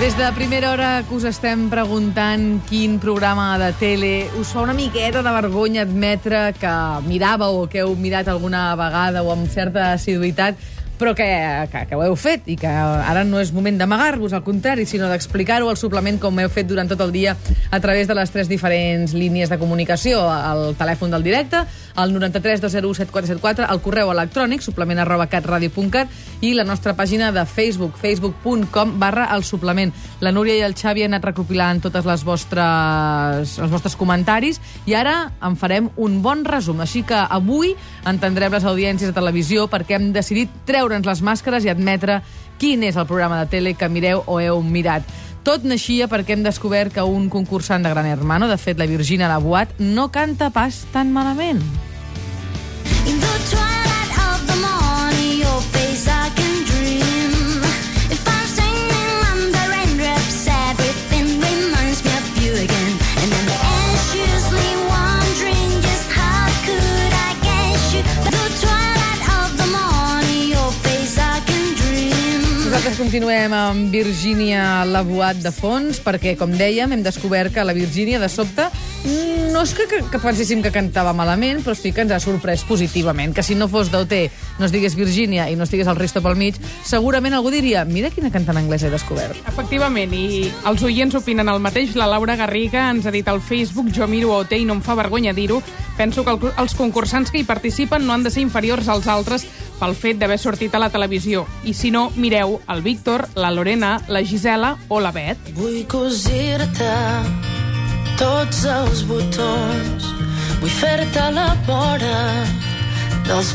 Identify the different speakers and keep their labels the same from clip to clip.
Speaker 1: Des de primera hora que us estem preguntant quin programa de tele us fa una miqueta de vergonya admetre que miràveu o que heu mirat alguna vegada o amb certa assiduïtat, però que, que, que ho heu fet i que ara no és moment d'amagar-vos, al contrari, sinó d'explicar-ho al suplement com heu fet durant tot el dia a través de les tres diferents línies de comunicació, el telèfon del directe, el 93 201 7474, el correu electrònic, suplement arroba catradio.cat i la nostra pàgina de Facebook, facebook.com barra el suplement. La Núria i el Xavi han anat recopilant totes les vostres, els vostres comentaris i ara en farem un bon resum. Així que avui entendrem les audiències de televisió perquè hem decidit treure treure'ns les màscares i admetre quin és el programa de tele que mireu o heu mirat. Tot naixia perquè hem descobert que un concursant de Gran Hermano, de fet la Virgina Laboat, no canta pas tan malament.
Speaker 2: In the twilight of the morning, your face I can dream. If I'm singing under raindrops, everything reminds me of you again. And I'm anxiously wondering just how could I get you? But the twilight of the morning, your face I can dream.
Speaker 1: Nosaltres continuem amb Virgínia Laboat de fons, perquè, com dèiem, hem descobert que la Virgínia, de sobte, no és que, que, que penséssim que cantava malament, però sí que ens ha sorprès positivament, que si no fos d'OT, no es digués Virgínia i no es digués el Risto pel mig, segurament algú diria, mira quina cantant anglesa he descobert.
Speaker 3: Efectivament, i els oients opinen el mateix. La Laura Garriga ens ha dit al Facebook jo miro OT i no em fa vergonya dir-ho. Penso que el- els concursants que hi participen no han de ser inferiors als altres pel fet d'haver sortit a la televisió. I si no, mireu el Víctor, la Lorena, la Gisela o la Bet.
Speaker 4: Vull cosir-te tots els botons. Vull fer-te la vora dels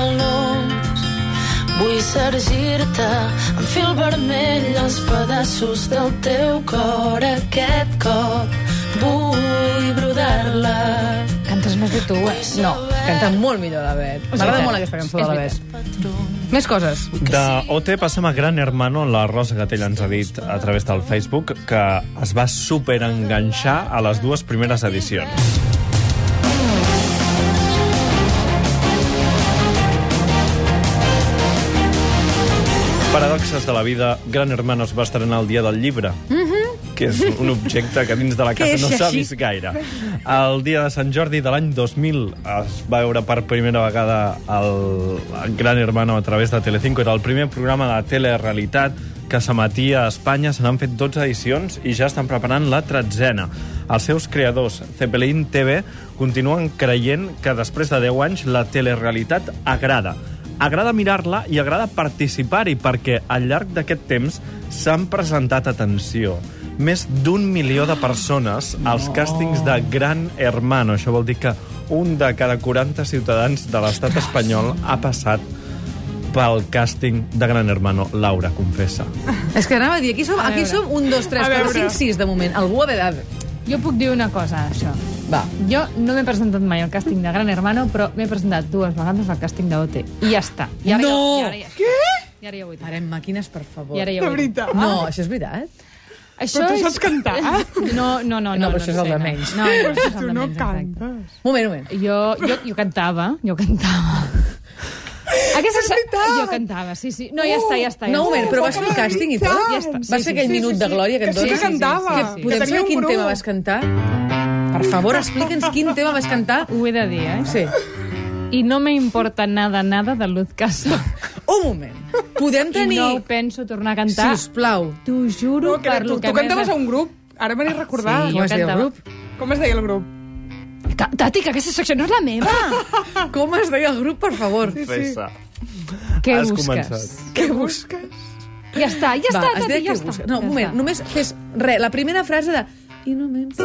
Speaker 4: pantalons. Vull sergir-te amb fil vermell els pedaços del teu cor. Aquest cop vull brodar-la.
Speaker 1: Cantes més que tu, eh? No, canta molt millor la Bet. M'agrada molt aquesta cançó de la Bet. Més coses.
Speaker 5: De OT passem a Gran Hermano, la Rosa Gatell ens ha dit a través del Facebook que es va superenganxar a les dues primeres edicions. Paradoxes de la vida, Gran Hermano es va estrenar el dia del llibre, que és un objecte que dins de la
Speaker 1: Mhm. Que és
Speaker 5: casa no s'ha
Speaker 1: així.
Speaker 5: vist gaire. El dia de Sant Jordi de l'any 2000 es va veure per primera vegada el el Gran Hermano a través de Telecinco. Era el primer programa de telerealitat que s'emetia a Espanya. Se n'han fet 12 edicions i ja estan preparant la tretzena. Els seus creadors, Zeppelin TV, continuen creient que després de 10 anys la telerealitat agrada. Agrada mirar-la i agrada participar-hi perquè al llarg d'aquest temps s'han presentat atenció més d'un milió de persones als càstings de Gran Hermano. Això vol dir que un de cada 40 ciutadans de l'estat espanyol ha passat pel càsting de Gran Hermano. Laura, confessa.
Speaker 1: És que anava a dir, aquí som, aquí som un, dos, tres,
Speaker 3: A
Speaker 1: quatre,
Speaker 3: veure.
Speaker 1: cinc, sis, de moment. Algú ha de...
Speaker 6: Jo puc dir una cosa, això.
Speaker 1: Va.
Speaker 6: Jo no m'he presentat mai al càsting de Gran Hermano, però m'he presentat dues vegades al càsting d'OT. I ja està. I ara
Speaker 1: No!
Speaker 6: Ja, i ara ja, Què? I ara ja ho he dit.
Speaker 1: Parem màquines, per favor.
Speaker 6: I ara ja ho he dit.
Speaker 1: No, això és veritat?
Speaker 6: Això
Speaker 3: Però tu
Speaker 6: és-
Speaker 3: saps cantar?
Speaker 6: No, no,
Speaker 1: No,
Speaker 6: no.
Speaker 1: però
Speaker 6: no,
Speaker 1: això és el
Speaker 6: sé,
Speaker 1: de
Speaker 6: no.
Speaker 1: menys.
Speaker 6: No, no, això és el
Speaker 3: Tu
Speaker 6: de
Speaker 3: no
Speaker 6: menys, exacte.
Speaker 3: cantes.
Speaker 1: Un moment, un moment.
Speaker 6: Jo, jo, jo cantava, jo cantava. Aquesta és veritat! Jo cantava, sí, sí. No, ja està, ja està. Ja
Speaker 1: No, un
Speaker 6: està.
Speaker 1: moment, però vas fer el càsting i tot?
Speaker 6: Ja està.
Speaker 1: Va
Speaker 6: Sí,
Speaker 1: ser
Speaker 6: sí,
Speaker 1: aquell
Speaker 6: sí,
Speaker 1: minut
Speaker 6: sí,
Speaker 1: de
Speaker 6: sí.
Speaker 1: glòria que et
Speaker 3: Que sí que
Speaker 1: dones?
Speaker 3: cantava.
Speaker 1: Que podem
Speaker 3: Que tenia
Speaker 1: saber
Speaker 3: un
Speaker 1: quin
Speaker 3: grup.
Speaker 1: tema vas cantar? Per favor, explica'ns quin tema vas cantar.
Speaker 6: Ho he de dir, eh?
Speaker 1: Sí.
Speaker 6: I no me importa nada, nada de Luz Castro.
Speaker 1: Un moment. Podem
Speaker 6: I
Speaker 1: tenir...
Speaker 6: no ho penso tornar a cantar.
Speaker 1: Sisplau.
Speaker 6: T'ho juro
Speaker 3: No, que
Speaker 6: per
Speaker 3: tu,
Speaker 6: lo que
Speaker 3: tu cantaves
Speaker 6: més-
Speaker 3: a un grup, ara me n'he recordat.
Speaker 6: Sí,
Speaker 1: Com
Speaker 6: jo
Speaker 1: es deia el
Speaker 6: cantava.
Speaker 1: grup?
Speaker 3: Com es deia el grup?
Speaker 6: Ta- Tati, que aquesta secció no és la meva!
Speaker 1: Com es deia el grup, per favor?
Speaker 5: Confessa.
Speaker 6: Què
Speaker 5: Has
Speaker 6: busques?
Speaker 5: començat.
Speaker 3: Què busques?
Speaker 6: Ja està, ja està,
Speaker 1: es
Speaker 6: Tati,
Speaker 1: deia
Speaker 6: ja
Speaker 1: que
Speaker 6: està.
Speaker 1: busca. No,
Speaker 6: ja
Speaker 1: un moment,
Speaker 6: està.
Speaker 1: només fes re, la primera frase de... I no m'importa.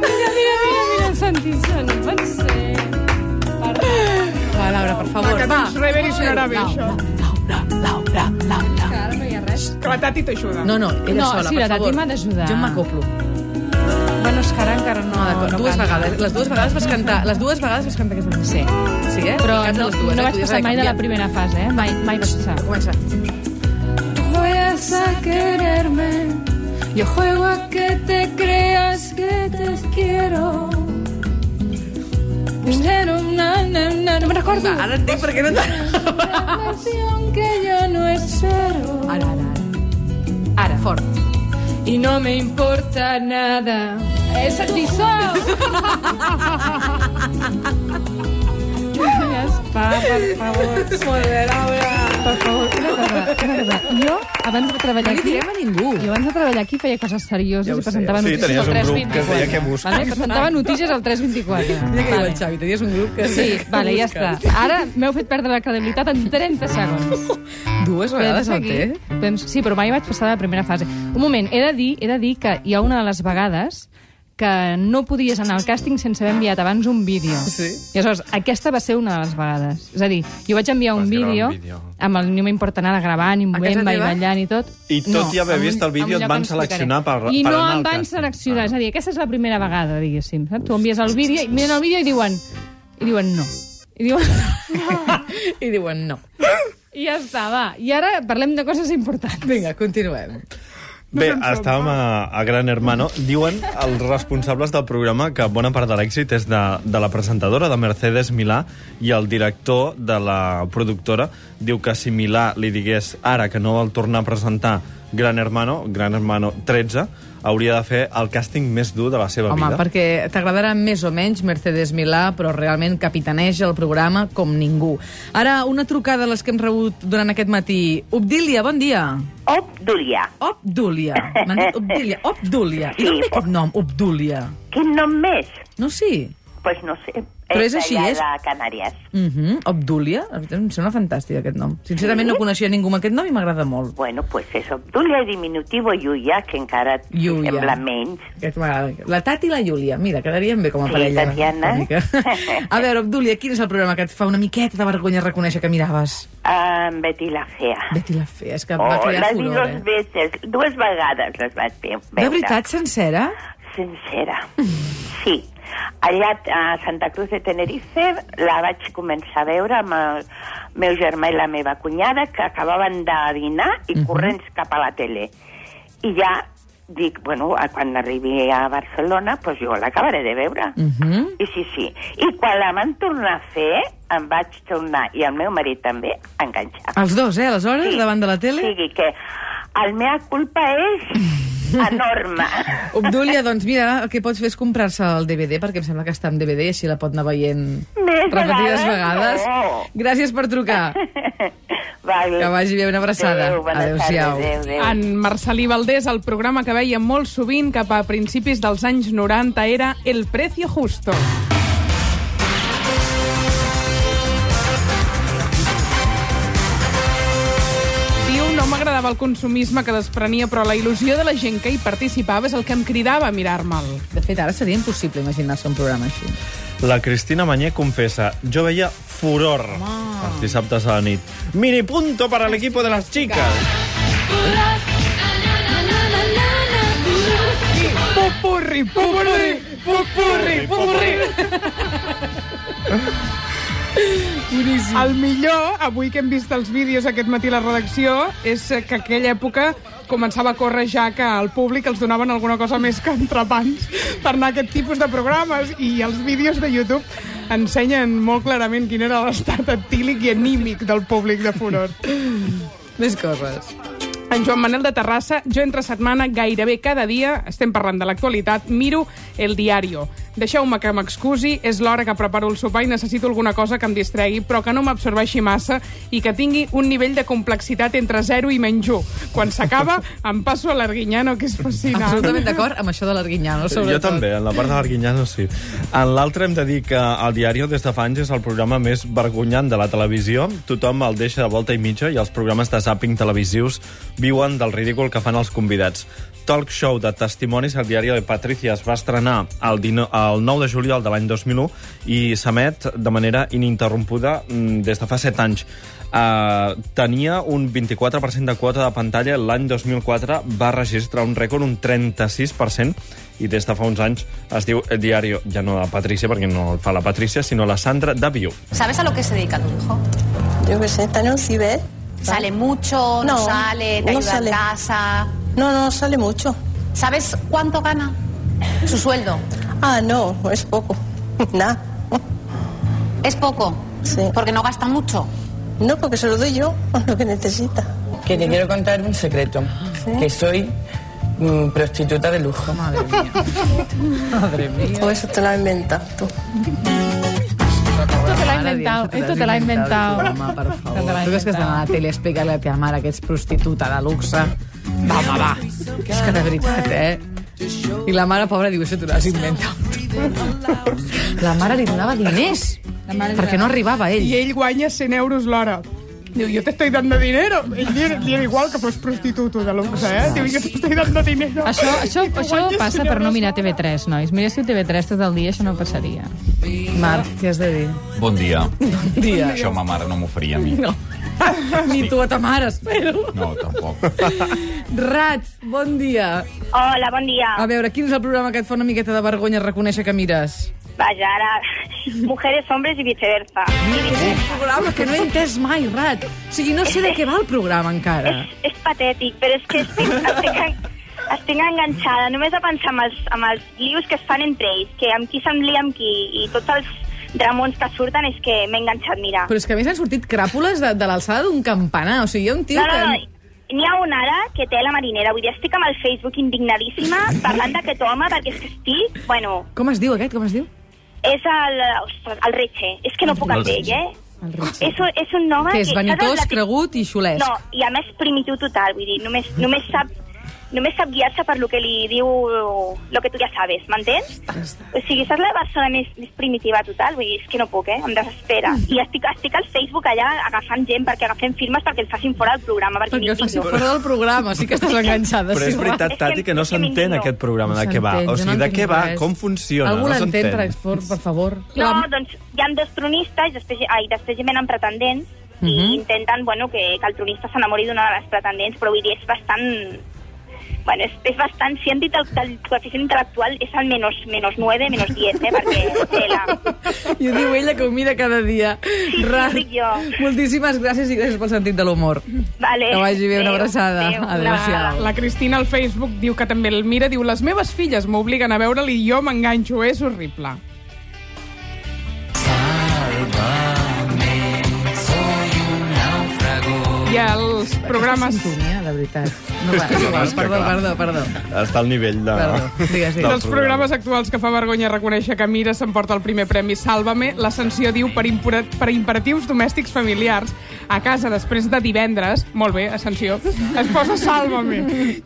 Speaker 6: Mira, mira, mira, mira, Santi, se no pot ser.
Speaker 1: Va, Laura, per favor,
Speaker 3: Que
Speaker 1: va.
Speaker 3: tens rever i sonarà bé, això.
Speaker 6: Ara no hi ha res.
Speaker 3: Que la Tati t'ajuda.
Speaker 1: No, no, ella
Speaker 6: No,
Speaker 1: sola,
Speaker 6: sí,
Speaker 1: per
Speaker 6: la Tati
Speaker 1: favor.
Speaker 6: m'ha d'ajudar.
Speaker 1: Jo m'acoplo.
Speaker 6: Bueno, és que ara encara no...
Speaker 1: Ah, d'acord, dues vegades. Les dues vegades vas cantar, les dues vegades vas cantar aquesta
Speaker 6: Sí.
Speaker 1: cançó. Sí, eh?
Speaker 6: Però
Speaker 1: Cantes
Speaker 6: no,
Speaker 1: les dues,
Speaker 6: no
Speaker 1: eh?
Speaker 6: vaig
Speaker 1: Podies
Speaker 6: passar
Speaker 1: haver
Speaker 6: mai de la
Speaker 1: canviat.
Speaker 6: primera fase, eh? Mai, mai vaig passar.
Speaker 1: Comença.
Speaker 6: Juegas a quererme, yo juego a que te creas que te quiero. No me recordo.
Speaker 1: Va, ara entenc per què no t'agrada.
Speaker 6: que yo Ah, no espero.
Speaker 1: Ara, ara, ara.
Speaker 3: Ara.
Speaker 1: Fort.
Speaker 7: y no me importa nada. Es el visor.
Speaker 3: Ja està, per favor.
Speaker 7: Molt bé, Laura.
Speaker 6: Per favor, una cosa, una cosa. Jo, abans de treballar
Speaker 1: No li
Speaker 6: aquí...
Speaker 1: direm a ningú.
Speaker 6: Jo abans de treballar aquí feia coses serioses
Speaker 5: Ja ho
Speaker 6: i presentava
Speaker 5: sé, ja ho sé. Sí,
Speaker 6: notícies
Speaker 5: tenies
Speaker 6: al
Speaker 5: un grup
Speaker 6: 324.
Speaker 5: que es deia Què busques?
Speaker 6: Vale, presentava notícies al 324.
Speaker 1: Mira que diu
Speaker 6: Vale.
Speaker 1: el Xavi, tenies un grup que...
Speaker 6: Sí, vale, ja està.
Speaker 1: Busca.
Speaker 6: Ara m'heu fet perdre la credibilitat en 30 segons.
Speaker 1: Dues vegades al té.
Speaker 6: Doncs, sí, però mai vaig passar de la primera fase. Un moment, he de dir, he de dir que hi ha una de les vegades que no podies anar al càsting sense haver enviat abans un vídeo.
Speaker 1: Sí.
Speaker 6: I aleshores, aquesta va ser una de les vegades. És a dir, jo vaig enviar un
Speaker 5: Vas gravar un
Speaker 6: vídeo,
Speaker 5: vídeo.
Speaker 6: amb el No m'importa nada gravant i movent-me i
Speaker 1: teva?
Speaker 6: ballant i tot.
Speaker 5: I tot i haver
Speaker 6: en un-
Speaker 5: vist el
Speaker 6: en
Speaker 5: vídeo, et
Speaker 6: un lloc
Speaker 5: van
Speaker 6: on explicaré.
Speaker 5: seleccionar per-
Speaker 6: I
Speaker 5: per
Speaker 6: no
Speaker 5: anar al
Speaker 6: em van
Speaker 5: càsting. Ah.
Speaker 6: seleccionar. És a dir, aquesta és la primera vegada, diguéssim. Saps? Tu envies el vídeo, i miren el vídeo i diuen... I diuen no. I diuen...
Speaker 1: I diuen no.
Speaker 6: I ja està, va. I ara parlem de coses importants.
Speaker 1: Vinga, continuem.
Speaker 5: Bé, estàvem a, a Gran Hermano. Diuen els responsables del programa que bona part de l'èxit és de, de la presentadora, de Mercedes Milà, i el director de la productora diu que si Milà li digués ara que no vol tornar a presentar Gran Hermano, Gran Hermano 13, hauria de fer el càsting més dur de la seva
Speaker 1: Home,
Speaker 5: vida.
Speaker 1: perquè t'agradarà més o menys Mercedes Milà, però realment capitaneja el programa com ningú. Ara, una trucada a les que hem rebut durant aquest matí. Obdília, bon dia.
Speaker 8: Obdulia.
Speaker 1: Obdúlia. M'han dit Obdúlia. Obdúlia. I
Speaker 8: Sí,
Speaker 1: d'on ve
Speaker 8: po-
Speaker 1: aquest nom, Obdúlia?
Speaker 8: Quin nom més?
Speaker 1: No sé.
Speaker 8: Pues no sé.
Speaker 1: Però és així,
Speaker 8: allà
Speaker 1: és-
Speaker 8: de Canàries.
Speaker 1: Mhm, Obdúlia. La veritat, Em sembla fantàstic, aquest nom. Sincerament, no coneixia ningú amb aquest nom i m'agrada molt.
Speaker 8: Bueno, pues és Obdulia, diminutiu o Lluia, que encara et
Speaker 1: Lluia.
Speaker 8: sembla menys.
Speaker 1: Aquest m'agrada. La Tati i la Júlia. Mira, quedarien bé com a
Speaker 8: Sí,
Speaker 1: parella.
Speaker 8: Tatiana.
Speaker 1: una mica. A veure, Obdúlia, quin és el programa que et fa una miqueta de vergonya reconèixer que miraves?
Speaker 8: Ah, Betty la Fea.
Speaker 1: Betty la Fea, és que
Speaker 8: Oh,
Speaker 1: va crear
Speaker 8: les vi
Speaker 1: furor,
Speaker 8: dos
Speaker 1: eh?
Speaker 8: veces, dues vegades les vaig ve- veure.
Speaker 1: De veritat, sencera?
Speaker 8: Sincera. Sí. Allà a Santa Cruz de Tenerife la vaig començar a veure amb el meu germà i la meva cunyada que acabaven de dinar i corrents cap a la tele. I ja dic, bueno, a- quan arribi a Barcelona, doncs jo l'acabaré de veure.
Speaker 1: Uh -huh.
Speaker 8: I sí, sí. I quan la van tornar a fer, em vaig tornar, i el meu marit també, a enganxar.
Speaker 1: Els dos, eh, aleshores,
Speaker 8: Sí.
Speaker 1: davant de la tele?
Speaker 8: O sigui que el mea culpa és enorme.
Speaker 1: Obdúlia, doncs mira, el que pots fer és comprar-se el DVD, perquè em sembla que està en DVD i així la pot anar veient
Speaker 8: Més
Speaker 1: repetides
Speaker 8: vegades,
Speaker 1: vegades.
Speaker 8: no.
Speaker 1: Gràcies per trucar.
Speaker 8: vale.
Speaker 1: Que vagi bé, una abraçada.
Speaker 8: Adéu, bones
Speaker 1: Adéu-siau.
Speaker 8: tardes, adéu, adéu.
Speaker 3: En Marcelí Valdés, el programa que veia molt sovint cap a principis dels anys 90 era El precio justo. Diu, no m'agradava el consumisme que desprenia, però la il·lusió de la gent que hi participava és el que em cridava a mirar-me'l.
Speaker 1: De fet, ara seria impossible imaginar-se un programa així.
Speaker 5: La Cristina Mañé confessa, jo veia furor els dissabtes a la nit. Mini punto para el equipo de las chicas.
Speaker 3: Pupurri, pupurri, pupurri, pupurri. Boníssim. El millor, avui que hem vist els vídeos aquest matí a la redacció, és que aquella època començava a córrer ja que al públic els donaven alguna cosa més que entrepans per anar a aquest tipus de programes i els vídeos de YouTube ensenyen molt clarament quin era l'estat etílic i anímic del públic de Furor.
Speaker 1: Més coses.
Speaker 3: En Joan Manel de Terrassa, jo entre setmana, gairebé cada dia, estem parlant de l'actualitat, miro el diario. Deixeu-me que m'excusi, és l'hora que preparo el sopar i necessito alguna cosa que em distregui, però que no m'absorbeixi massa i que tingui un nivell de complexitat entre 0 i menys 1. Quan s'acaba, em passo a l'Arguinyano, que és fascinant.
Speaker 1: Absolutament d'acord amb això de l'Arguinyano, sobretot.
Speaker 5: Jo també, en la part de l'Arguinyano sí. En l'altre hem de dir que el diari des de fa anys és el programa més vergonyant de la televisió. Tothom el deixa de volta i mitja i els programes de zàping televisius viuen del ridícul que fan els convidats. Talk show de testimonis al diari de Patricia es va estrenar el, 19, el 9 de juliol de l'any 2001 i s'emet de manera ininterrompuda mm, des de fa 7 anys. Uh, tenia un 24% de quota de pantalla l'any 2004 va registrar un rècord, un 36% i des de fa uns anys es diu El Diario, ja no la Patricia, perquè no el fa la Patricia, sinó la Sandra Daviu.
Speaker 9: ¿Sabes a lo que se dedica tu hijo?
Speaker 10: Yo qué sé, está en el ciber.
Speaker 9: ¿Sale mucho? ¿No,
Speaker 10: No,
Speaker 9: sale? ¿Te
Speaker 10: no
Speaker 9: ayuda
Speaker 10: sale.
Speaker 9: en casa?
Speaker 10: No, no, sale mucho.
Speaker 9: ¿Sabes cuánto gana? Su sueldo.
Speaker 10: Ah, no, es poco. Nada.
Speaker 9: ¿Es poco?
Speaker 10: Sí.
Speaker 9: Porque no gasta mucho.
Speaker 10: No, porque se lo doy yo, lo que necesita.
Speaker 4: Que te quiero contar un secreto.
Speaker 11: que soy mm, prostituta de lujo. Madre mía. Madre mía.
Speaker 10: Todo eso te lo has inventado tú.
Speaker 12: Esto te l'ha
Speaker 1: Mare,
Speaker 12: inventat,
Speaker 1: diem,
Speaker 12: esto te l'ha inventat.
Speaker 1: tu, Home,
Speaker 12: Te
Speaker 1: per
Speaker 12: l'ha
Speaker 1: favor. Tu creus que has d'anar a la tele a explicar a la teva mare que ets prostituta de luxe? Va, home, va. És que de veritat, eh? I la mare, pobra, diu, això t'ho l'has inventat. La mare li donava diners. Perquè no arribava ell.
Speaker 3: I ell guanya 100 euros l'hora. Diu, yo te estoy dando dinero. Ell li, li era igual que fos prostituto de luxe, eh? Diu, yo te estoy dando dinero.
Speaker 12: Això, això,
Speaker 3: I tu
Speaker 12: això
Speaker 3: guanyes
Speaker 12: passa
Speaker 3: 100
Speaker 12: per no
Speaker 3: euros.
Speaker 12: mirar TV3, nois. Miressin TV3 tot el dia, això no passaria.
Speaker 1: Marc, què has de dir?
Speaker 13: Bon dia.
Speaker 1: Dia.
Speaker 13: Això ma mare no m'ho faria a mi.
Speaker 1: No. Ni tu a ta mare, espero.
Speaker 13: No, tampoc.
Speaker 1: Rat, bon dia.
Speaker 8: Hola, bon dia.
Speaker 1: A veure, quin és el programa que et fa una miqueta de vergonya reconèixer que mires?
Speaker 8: Vaja, ara... Mujeres, hombres i viceversa.
Speaker 1: Un programa que no he entès mai, Rat. O sigui, no sé de què va el programa encara.
Speaker 8: És patètic, però és que estic, estic, en- estic enganxada només a pensar en els, en els lius que es fan entre ells, que amb qui se'n lia amb qui, i tots els dramons que surten és que m'he enganxat, mira.
Speaker 1: Però és que a més han sortit cràpules de, de l'alçada d'un campanar. O sigui, hi ha un tio
Speaker 8: No, no,
Speaker 1: que...
Speaker 8: no. N'hi ha una ara que té la marinera. Vull dir, estic amb el Facebook indignadíssima parlant d'aquest home perquè és que estic... Bueno,
Speaker 1: Com es diu aquest? Com es diu?
Speaker 8: és el... Ostres, el Reche. És que no puc amb ell, eh?
Speaker 1: El
Speaker 8: És, un- és un home
Speaker 1: Que és
Speaker 8: que...
Speaker 1: vanitós,
Speaker 8: saps el-
Speaker 1: cregut i xulesc.
Speaker 8: No, i a més primitiu total, vull dir, només, només sap només sap guiar-se per lo que li diu lo que tu ja sabes, m'entens? O sigui, saps la persona més, més primitiva total? Vull dir, és que no puc, eh? Em desespera.
Speaker 1: Mm.
Speaker 8: I estic, estic al Facebook allà agafant gent perquè agafem firmes perquè el facin fora del programa. Perquè,
Speaker 1: Perquè el
Speaker 8: m'indigno.
Speaker 1: faci fora del programa, sí que estàs enganxada.
Speaker 5: Però
Speaker 1: sí,
Speaker 5: és veritat,
Speaker 1: Rat.
Speaker 5: Tati, que no s'entén aquest programa, de què va.
Speaker 1: s'entén, jo
Speaker 5: O sigui,
Speaker 1: no
Speaker 5: de
Speaker 1: entenc
Speaker 5: què va,
Speaker 1: res.
Speaker 5: com funciona,
Speaker 1: Algú
Speaker 5: no
Speaker 1: l'entén,
Speaker 5: s'entén.
Speaker 1: per, per favor.
Speaker 8: No, doncs hi ha dos tronistes, després, ai, després hi venen pretendents, mm -hmm.
Speaker 1: Mhm.
Speaker 8: i intenten bueno, que, que el tronista s'enamori d'una de les pretendents, però vull dir, és bastant... Bueno, és, és bastant... Si han dit el, el coeficient intel·lectual és el menos, menos 9, menos 10, eh? Perquè... Tela.
Speaker 1: I ho diu ella, que ho mira cada dia.
Speaker 8: sí,
Speaker 1: Rat,
Speaker 8: dic jo.
Speaker 1: moltíssimes gràcies i gràcies pel sentit de l'humor.
Speaker 8: Vale.
Speaker 1: Que vagi bé, una
Speaker 3: Adéu,
Speaker 1: abraçada.
Speaker 3: adéu.
Speaker 1: Adéu-siau.
Speaker 3: La, la Cristina al Facebook diu que també el mira, diu, les meves filles m'obliguen a veure-li i jo m'enganxo, és horrible. I els programes...
Speaker 1: Sintonia, de veritat. No, va,
Speaker 5: És que
Speaker 1: igual,
Speaker 5: és que
Speaker 1: perdó,
Speaker 5: clar.
Speaker 1: perdó, perdó.
Speaker 5: Està al nivell de...
Speaker 1: Perdó, digues, digues.
Speaker 3: dels
Speaker 5: del Doncs programa.
Speaker 3: programes actuals que fa vergonya reconèixer que Mira s'emporta el primer premi Sálvame, la sanció diu per, impura- per imperatius domèstics familiars a casa després de divendres, molt bé, sanció, es posa Sálvame.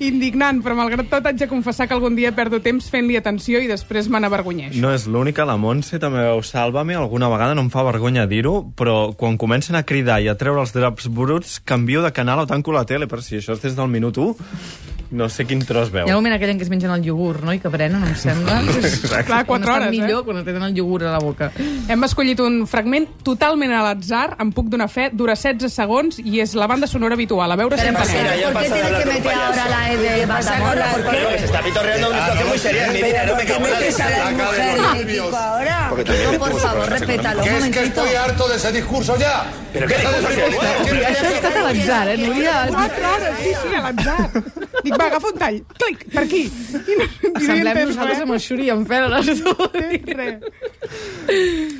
Speaker 3: Indignant, però malgrat tot haig de confessar que algun dia perdo temps fent-li atenció i després me n'avergonyeixo.
Speaker 5: No és l'única, la Montse també veu Sálvame, alguna vegada no em fa vergonya dir-ho, però quan comencen a cridar i a treure els draps bruts, canvio de canal o tanco la tele, per si això és des del minut 1, no sé quin tros veu.
Speaker 1: Hi ha un moment aquell en què es mengen el iogurt, no?, i que prenen, em sembla.
Speaker 5: Exacte.
Speaker 3: Clar,
Speaker 1: quan
Speaker 3: quatre hores, eh?
Speaker 1: millor, eh? quan tenen el iogurt a la boca.
Speaker 3: Hem escollit un fragment totalment a l'atzar, em puc donar fe, dura 16 segons i és la banda sonora habitual. A veure si entenem.
Speaker 14: ¿Por qué tiene que meter ahora la E de Batamorra? ¿Por qué? Se está pitorreando una situación muy seria en mi vida, no me cago en la
Speaker 15: metes a las mujeres en el pico ahora?
Speaker 14: Porque también
Speaker 15: No,
Speaker 14: tuvo
Speaker 15: por
Speaker 14: su
Speaker 15: favor,
Speaker 14: programa
Speaker 15: respétalo,
Speaker 14: económico.
Speaker 15: un
Speaker 14: Que es que
Speaker 15: momentito.
Speaker 14: estoy
Speaker 15: harto de ese discurso ya.
Speaker 14: Pero qué discurso es el nuevo.
Speaker 1: Això ha estat avançant, eh, Núria?
Speaker 3: Quatre hores, sí, sí, a l'atzar. Dic, va, agafa un tall, clic, per aquí. I no, i no hi
Speaker 1: Semblem
Speaker 3: entens
Speaker 1: nosaltres
Speaker 3: res.
Speaker 1: amb el Xuri i en Pere, les dues.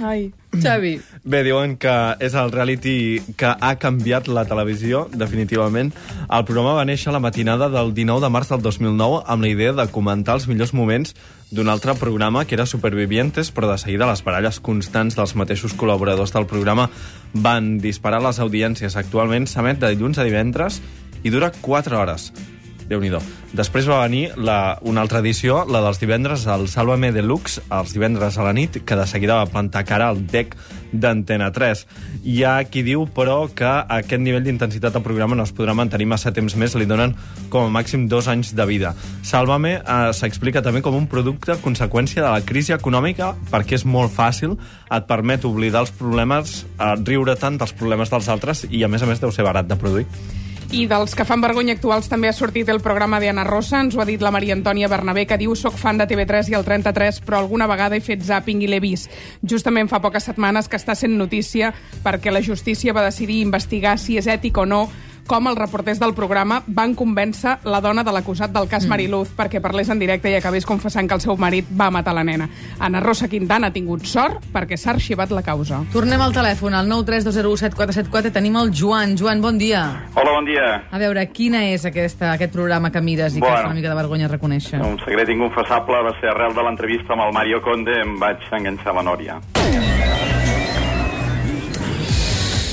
Speaker 3: Ai.
Speaker 1: Xavi.
Speaker 5: Bé, diuen que és el reality que ha canviat la televisió, definitivament. El programa va néixer la matinada del 19 de març del 2009 amb la idea de comentar els millors moments d'un altre programa que era Supervivientes, però de seguida les baralles constants dels mateixos col·laboradors del programa van disparar les audiències. Actualment s'emet de dilluns a divendres i dura 4 hores déu nhi Després va venir la, una altra edició, la dels divendres, el Sálvame Deluxe, els divendres a la nit, que de seguida va plantar cara al DEC d'Antena 3. Hi ha qui diu, però, que aquest nivell d'intensitat del programa no es podrà mantenir massa temps més, li donen com a màxim dos anys de vida. Sálvame eh, s'explica també com un producte conseqüència de la crisi econòmica, perquè és molt fàcil, et permet oblidar els problemes, eh, riure tant dels problemes dels altres, i a més a més deu ser barat de produir.
Speaker 3: I dels que fan vergonya actuals també ha sortit el programa d'Anna Rosa, ens ho ha dit la Maria Antònia Bernabé, que diu «Soc fan de TV3 i el 33, però alguna vegada he fet zapping i l'he vist». Justament fa poques setmanes que està sent notícia perquè la justícia va decidir investigar si és ètic o no com els reporters del programa van convèncer la dona de l'acusat del cas Mariluz perquè parlés en directe i acabés confessant que el seu marit va matar la nena. Ana Rosa Quintana ha tingut sort perquè s'ha arxivat la causa.
Speaker 1: Tornem al telèfon, al 932017474. Tenim el Joan. Joan, bon dia.
Speaker 5: Hola, bon dia.
Speaker 1: A veure, quina és aquesta, aquest programa que mires i que
Speaker 5: Bueno.
Speaker 1: fa una mica de vergonya reconèixer?
Speaker 5: Eh, Un secret inconfessable va ser arrel de l'entrevista amb el Mario Conde em vaig enganxar la Nòria.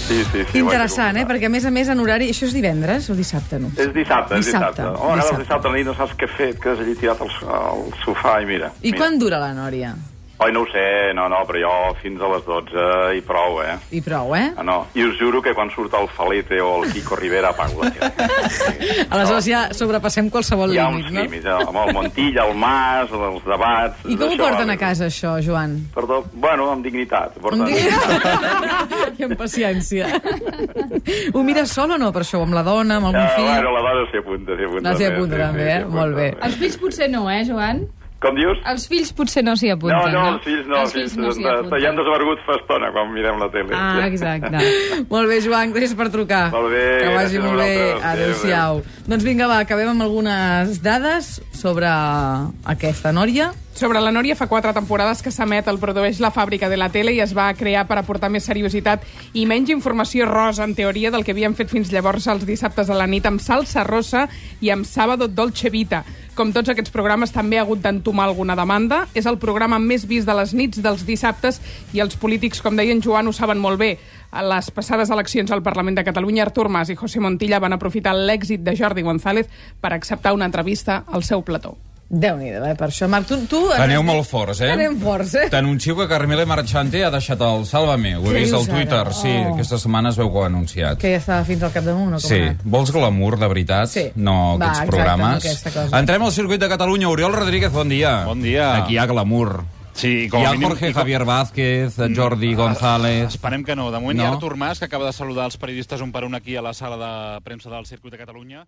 Speaker 5: Sí, sí, sí.
Speaker 1: Interessant, eh? Perquè, a més a més, en horari... Això és divendres o dissabte, no?
Speaker 5: És dissabte, és
Speaker 1: Dissabte,
Speaker 5: dissabte. dissabte. Oh, ara
Speaker 1: dissabte.
Speaker 5: el dissabte a la nit no saps què fer, et quedes allí tirat al, so- al sofà i mira.
Speaker 1: I
Speaker 5: mira.
Speaker 1: quan dura la Nòria?
Speaker 5: Oi, no ho sé, no, no, però jo fins a les 12 i prou, eh?
Speaker 1: I prou, eh?
Speaker 5: Ah, no. I us juro que quan surt el Falete o el Quico Rivera apago la tele.
Speaker 1: Aleshores ja sobrepassem qualsevol
Speaker 5: Hi ha uns
Speaker 1: límit, no?
Speaker 5: límits, eh? amb el Montilla, el Mas, els debats...
Speaker 1: I com ho
Speaker 5: d'això,
Speaker 1: porten
Speaker 5: eh?
Speaker 1: a casa, això, Joan?
Speaker 5: Perdó, bueno, amb dignitat. Porten...
Speaker 1: Amb I amb paciència. Ho mires sol o no, per això? Amb la dona, amb algun
Speaker 5: Ah,
Speaker 1: fill?
Speaker 5: bueno, la dona s'hi apunta, s'hi apunta.
Speaker 1: No s'hi
Speaker 5: també,
Speaker 1: apunta,
Speaker 5: sí,
Speaker 1: també,
Speaker 5: sí,
Speaker 1: eh?
Speaker 5: s'hi apunta.
Speaker 1: Molt bé.
Speaker 6: Els fills potser no, eh, Joan?
Speaker 5: Com dius?
Speaker 6: Els fills potser no s'hi
Speaker 5: no,
Speaker 6: apunten, no?
Speaker 5: no, els fills no, els fills,
Speaker 6: no s'hi apunten.
Speaker 5: ja han desvergut fa estona quan mirem la tele.
Speaker 1: Ah, exacte. molt bé, Joan, gràcies per trucar.
Speaker 5: Molt bé,
Speaker 1: Que vagi
Speaker 5: gràcies a
Speaker 1: molt bé.
Speaker 5: vosaltres. Adéu,
Speaker 1: Adéu-siau. Doncs vinga, va, acabem amb algunes dades sobre aquesta nòria.
Speaker 3: Sobre la Nòria fa quatre temporades que s'emet, el produeix la fàbrica de la tele i es va crear per aportar més seriositat i menys informació rosa, en teoria, del que havien fet fins llavors els dissabtes a la nit amb salsa rosa i amb Sábado Dolce Vita. Com tots aquests programes, també ha hagut d'entomar alguna demanda. És el programa més vist de les nits dels dissabtes i els polítics, com deien Joan, ho saben molt bé. A les passades eleccions al Parlament de Catalunya, Artur Mas i José Montilla van aprofitar l'èxit de Jordi González per acceptar una entrevista al seu plató.
Speaker 1: Déu-n'hi-do, eh, per això. Marc, tu... tu
Speaker 10: Aneu molt forts, eh?
Speaker 1: Anem forts, eh?
Speaker 10: T'anuncio que Carmela Marchante ha deixat el Sálvame. Ho
Speaker 1: Què
Speaker 10: he vist
Speaker 1: dius
Speaker 10: al
Speaker 1: ara?
Speaker 10: Twitter, sí.
Speaker 1: Oh.
Speaker 10: Aquesta setmana es veu que ho ha anunciat.
Speaker 1: Que ja estava fins al capdamunt, o com
Speaker 10: Sí.
Speaker 1: ha anat?
Speaker 10: Vols glamour, de veritat?
Speaker 1: Sí.
Speaker 10: No
Speaker 1: Va,
Speaker 10: aquests
Speaker 1: exacte, no
Speaker 10: programes.
Speaker 1: aquesta cosa.
Speaker 10: Entrem al circuit de Catalunya. Oriol Rodríguez, bon dia. Bon dia. Aquí hi ha glamour. Sí,
Speaker 16: com
Speaker 10: hi
Speaker 16: a
Speaker 10: ha
Speaker 16: mínim-
Speaker 10: Jorge
Speaker 16: i com-
Speaker 10: Javier Vázquez, Jordi González...
Speaker 16: Esperem que no. De moment no. hi
Speaker 10: No.
Speaker 16: ha Artur Mas, que acaba de saludar els periodistes un per un aquí a la sala de premsa del Circuit de Catalunya.